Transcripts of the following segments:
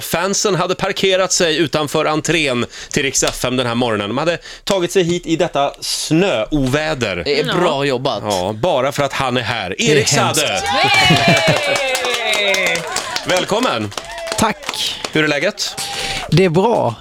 Fansen hade parkerat sig utanför entrén till Rix FM den här morgonen. De hade tagit sig hit i detta snöoväder. Det är bra jobbat. Ja, bara för att han är här. Erik hemskt. Sade, välkommen! Tack! Hur är läget? Det är bra.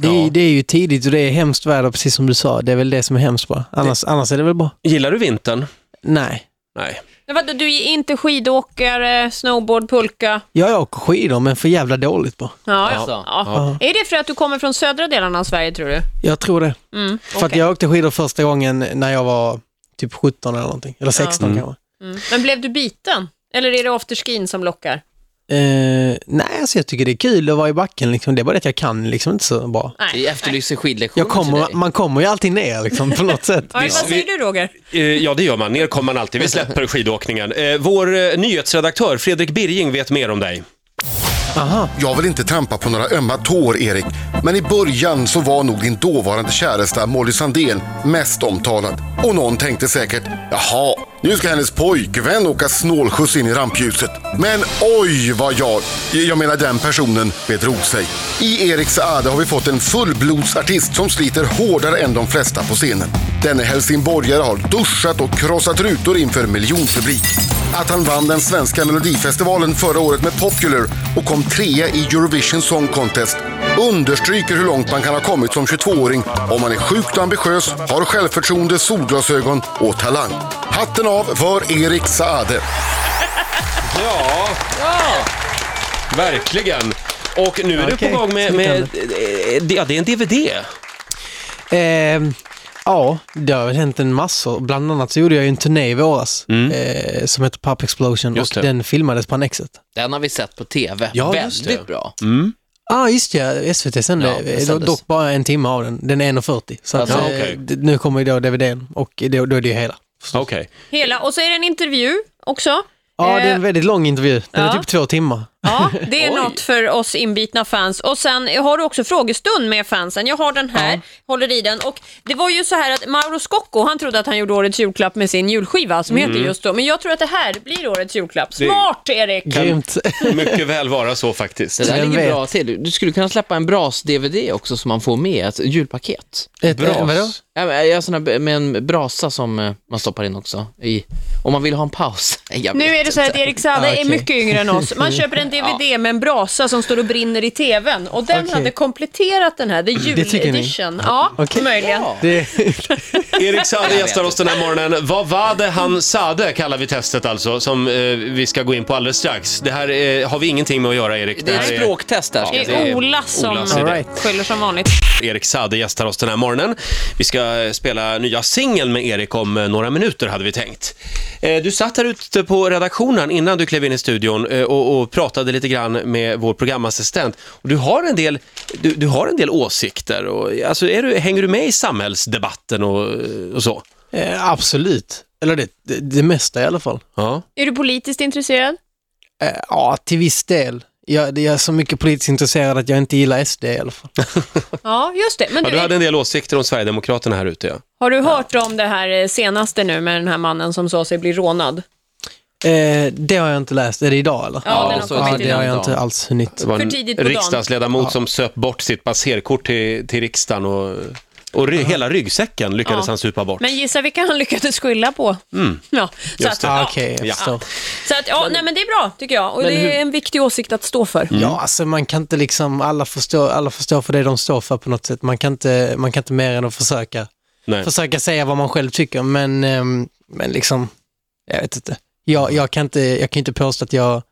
Det är, Ja. det är ju tidigt och det är hemskt väder, precis som du sa. Det är väl det som är hemskt bra. Annars, annars är det väl bra? Gillar du vintern? Nej. Nej. Men vadå, du är inte skidåkare, snowboard, pulka? Jag åker skidor, men för jävla dåligt bra. Ja, Ja. ja. ja. Är det för att du kommer från södra delarna av Sverige, tror du? Jag tror det. Mm, För att okej. jag åkte skidor första gången när jag var typ 17 eller någonting. Eller 16 Mm. kanske. mm. Men blev du biten? Eller är det afterskin som lockar? Eh, nej, alltså jag tycker det är kul att vara i backen. Liksom. Det är bara det att jag kan liksom inte så bra. Nej. Vi efterlyser skidlektioner Jag till kommer, dig. man kommer ju alltid ner liksom, på något sätt. Ja, Vad säger du, Roger? Eh, Ja, det gör man. Ner kommer man alltid. Vi släpper skidåkningen. Eh, Vår eh, nyhetsredaktör Fredrik Birging vet mer om dig. Aha. Jag vill inte trampa på några ömma tår, Erik, men i början så var nog din dåvarande käresta Molly Sandén mest omtalad. Och någon tänkte säkert, jaha, nu ska hennes pojkvän åka snålskjuts in i rampljuset. Men oj vad jag, jag menar den personen, bedrog sig. I Erik Saade har vi fått en fullblodsartist som sliter hårdare än de flesta på scenen. Denne helsingborgare har duschat och krossat rutor inför miljonpublik. Att han vann den svenska melodifestivalen förra året med Popular och kom trea i Eurovision Song Contest understryker hur långt man kan ha kommit som 22-åring om man är sjukt ambitiös, har självförtroende, solglasögon och talang. Hatten av för Erik Saade. Ja, verkligen. Och nu är du Okej, på gång med, med eh, det- ja, det är en DVD. Ehm, ja, det har väl hänt en massa. Bland annat så gjorde jag ju en turné i våras eh, som heter Pop Explosion Mm. Just och det. den filmades på Annexet. Den har vi sett på tv. Ja, just Väldigt bra. Ja, ah, just det. SVT Ja, sände den eh, sändes. dock bara en timme av den. Den är 1.40. Så att, Ja, eh, okej. d- nu kommer ju då DVDn och då, då är det ju hela. Okej. Hela, och så är det en intervju också. Ja, det är Eh, en väldigt lång intervju. Den är ja. typ två timmar. Ja, det är Oj. något för oss inbitna fans. Och sen har du också frågestund med fansen. Jag har den här, håller i den. Och det var ju så här att Mauro Scocco, han trodde att han gjorde årets julklapp med sin julskiva som Mm. heter just då. Men jag tror att det här blir årets julklapp. Smart Erik! Grymt. Mycket väl vara så faktiskt. Det där Vem ligger vet? bra till. Du skulle kunna släppa en bras-DVD också som man får med, ett julpaket. Ett, Bra. eh, vadå? Ja, men Jag har sån här med en brasa som eh, man stoppar in också, i, om man vill ha en paus. Jag Nu vet är det så här att inte. Erik Saade Ja, okej. är mycket yngre än oss. Man köper en DVD med en brasa som står och brinner i TVn. Och den Okej. hade kompletterat den här, the tycker ni? juledition. Ja, Okej. möjligen. Det, Erik Sade vet gästar oss den här morgonen. Vad var det han sade kallar vi testet alltså, som eh, vi ska gå in på alldeles strax. Det här eh, har vi ingenting med att göra Erik. Det är här ett språktest där. ska Det jag det säga. är är Ola som Olas idé. All right. skyller som vanligt. Erik Sade gästar oss den här morgonen. Vi ska eh, spela nya singeln med Erik om eh, några minuter hade vi tänkt. Eh, Du satt här ute på redaktionen innan du klev in i studion eh, och, och pratade lite grann med vår programassistent. Och Du har en del, du, du har en del åsikter. Och, alltså, är du, hänger du med i samhällsdebatten och, och så? eh, absolut. Eller det, det, det mesta i alla fall. Ja. Är du politiskt intresserad? Eh, ja, till viss del. Jag, det- jag är så mycket politiskt intresserad att jag inte gillar SD i alla fall. Ja, just det. Men Ja, du, du hade en del åsikter om Sverigedemokraterna här ute. Ja. har du hört om det här eh, senaste nu med den här mannen som sa sig bli rånad? Eh, det har jag inte läst. Är det idag eller? Ja, den har kommit det har idag. jag inte alls hunnit. Det var en För tidigt på dagen. riksdagsledamot som söp bort sitt passerkort till, till riksdagen och, och ry- hela ryggsäcken lyckades Ja. han supa bort. Men gissa vilka han lyckades skylla på? Ja, så att, det. Ah, ja, Okej, jag Ja. förstår. så att, ja, nej men det är bra tycker jag. Och det är en viktig åsikt att stå för. Ja, alltså man kan inte liksom, alla får, stå, alla får stå för det de står för på något sätt. Man kan inte, man kan inte mer än att försöka, Nej. försöka säga vad man själv tycker, men, ehm, men liksom, jag vet inte. Jag, jag kan inte, jag kan inte påstå att jag,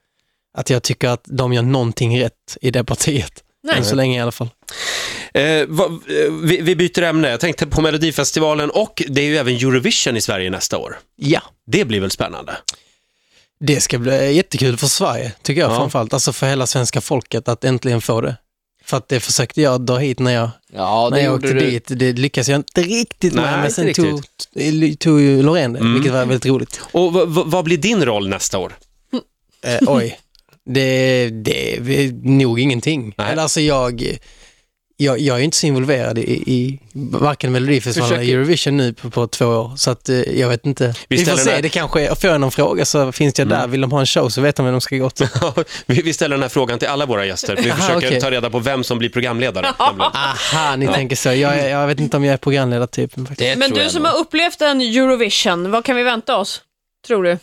att jag tycker att de gör någonting rätt i det partiet. Nej. Än så länge i alla fall. Eh, vad- eh, vi, vi byter ämne. Jag tänkte på Melodifestivalen och det är ju även Eurovision i Sverige nästa år. Ja. Det blir väl spännande? Det ska bli jättekul för Sverige, tycker jag Ja. framförallt. Alltså för hela svenska folket att äntligen få det. För att det försökte jag dra hit när jag, Ja, det när jag gjorde åkte du. dit. Det lyckades jag inte riktigt Nej, med, men inte sen riktigt. tog, t- tog ju Loreen det, vilket var väldigt roligt. Och v, v, vad blir din roll nästa år? Eh, oj, det, det är nog ingenting. Nej. Eller alltså jag, jag, jag är inte så involverad i, i varken Melodifestivalen eller Försöker- Eurovision nu på, på två år, så att, eh, jag vet inte. Vi, får ställer se, den här- det kanske är, får jag någon fråga så finns jag där. Vill de ha en show så vet de vem de ska gå till. Ja, vi, vi ställer den här frågan till alla våra gäster. Vi Aha, försöker okej. ta reda på vem som blir programledare. nämligen. Aha, ni tänker så. Jag, är- jag vet inte om jag är programledartypen faktiskt. Det Men tror du jag som nog. har upplevt en Eurovision, vad kan vi vänta oss? Tror du?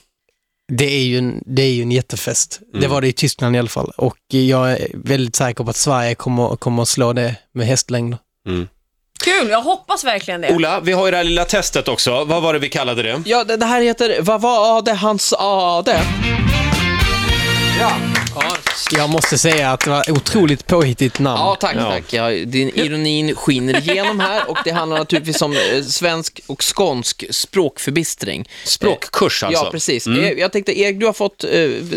Det är ju en, det är ju en jättefest. Det var det i Tyskland i alla fall. Och jag är väldigt säker på att Sverige kommer, kommer att slå det med hästlängder. Kul, jag hoppas verkligen det. Ola, vi har ju det här lilla testet också. Vad var det vi kallade det? Ja, det, det här heter Vad var det hans ade? Ja, Jag måste säga att det var otroligt påhittigt namn. ja tack, Ja. tack. Ja, din ironin skiner igenom här och det handlar naturligtvis om eh, svensk och skånsk språkförbistring. Språkkurs alltså. Ja, precis. Eh, Jag tänkte, Erik, du har fått eh,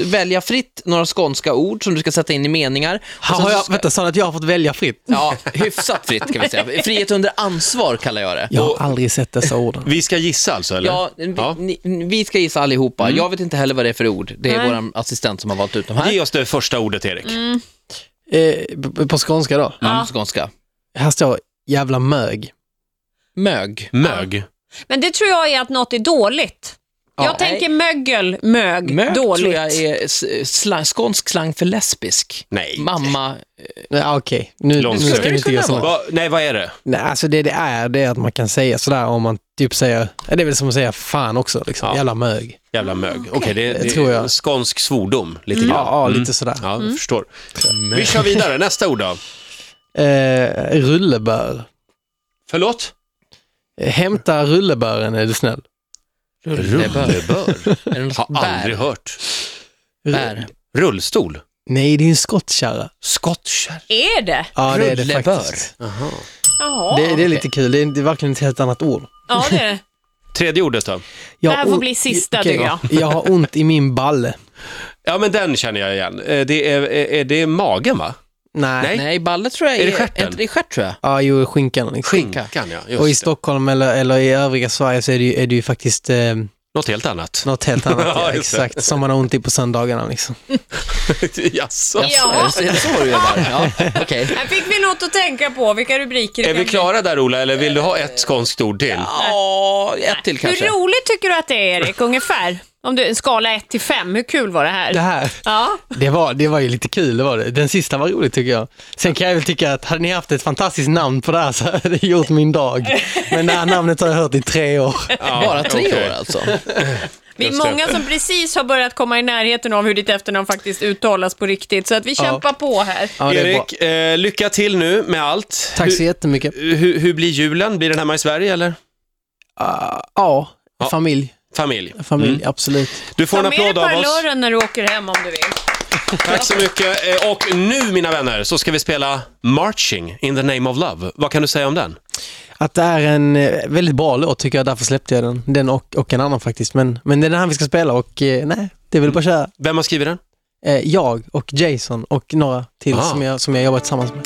välja fritt några skånska ord som du ska sätta in i meningar. Och sen Har så jag, ska- Vänta, sa du att jag har fått välja fritt? Ja, hyfsat fritt kan vi säga. Frihet under ansvar kallar jag det. Jag har aldrig sett dessa orden. Vi ska gissa alltså, eller? Ja, vi, Ni, vi ska gissa allihopa. Jag vet inte heller vad det är för ord. Det är Nej. vår assistent som har valt ut de här. Ge oss Mm. det första ordet, Erik. Eh, b- på skånska då? Mm, skånska. Här står jävla mög. Mög. Mög. Men det tror jag är att något är dåligt. jag tänker mögel, mög, Mög dåligt. tror jag är s- sla, skånsk slang för lesbisk. Nej. Mamma, Nej, ah, Okej, nu, nu Långsökt. ska vi inte Skulle det göra kunna sådana. Va, nej, vad är det? Nej, alltså det det är, det är att man kan säga sådär om man typ säger, ja, det är väl som att säga fan också, liksom. Ja. jävla mög. Jävla mög. Mm, Okej, det, det, Det tror jag. Mm. är skånsk svordom, lite grann. Ja, ja, lite sådär. Ja, Mm. jag Mm. förstår. Vi kör vidare, nästa ord då. Eh, rullebör. Förlåt? Eh, Hämta rullebören är du snäll. rullebör. Är det något Har aldrig bär? hört. bär? Rullstol? Nej, det är en skottkärra. Skottkärra? Är det? Ja, det är det Rullebör. faktiskt. Jaha. Det, det är lite kul, det är, det är verkligen ett helt annat ord. Ja, det är det. Tredje ordet då? Jag Det här har får on- bli sista, Okej, tycker jag. Jag har ont i min balle. Ja, men den känner jag igen. Eh, Det är, är, är det magen, va? Nej. Nej. Nej, balle tror jag är... Är det stjärten? inte det stjärt tror jag? Ja, jo, skinkan. Liksom. Mm. Skinkan, ja. Just Och i det. Stockholm eller, eller i övriga Sverige så är det ju, är det ju faktiskt eh, Något helt annat. något helt annat. Ja, ja, just det. exakt, som man har ont i på söndagarna. Liksom. Jaså? Är Jaha. det så- Är det så du gör där? Ja, okej. Här fick vi något att tänka på, vilka rubriker det Är kan vi klara där, Ola, eller vill du ha ett skånskt ord till? Ja, ett till bli. kanske. Hur roligt tycker du att det är, Erik, ungefär? Om du, en skala 1 till 5, hur kul var det här? Det här, Ja, det var, det var ju lite kul, det var det. Den sista var rolig tycker jag. Sen kan jag väl tycka att hade ni haft ett fantastiskt namn på det här så hade det gjort min dag. Men det här namnet har jag hört i tre år. Ja, Bara tre okej. år alltså. vi är Just det. många som precis har börjat komma i närheten av hur ditt efternamn faktiskt uttalas på riktigt, så att vi kämpar på här. Ja, det är bra. Erik, eh, lycka till nu med allt. Tack så hur, jättemycket. hur, hur blir julen? Blir den hemma i Sverige, eller? Ah, ja, familj. Familj. Familj, Mm. absolut. Du får Ta en med dig applåd av oss. parlören när du åker hem om du vill. Tack så mycket. Eh, Och nu, mina vänner, så ska vi spela Marching in the name of love. Vad kan du säga om den? Att det är en eh, väldigt bra låt tycker jag, därför släppte jag den. Den och, och en annan faktiskt. Men, men det är den här vi ska spela och eh, nej, det vill bara köra. Vem har skrivit den? Eh, jag och Jason och några till Ah. som, jag, som jag jobbar tillsammans med.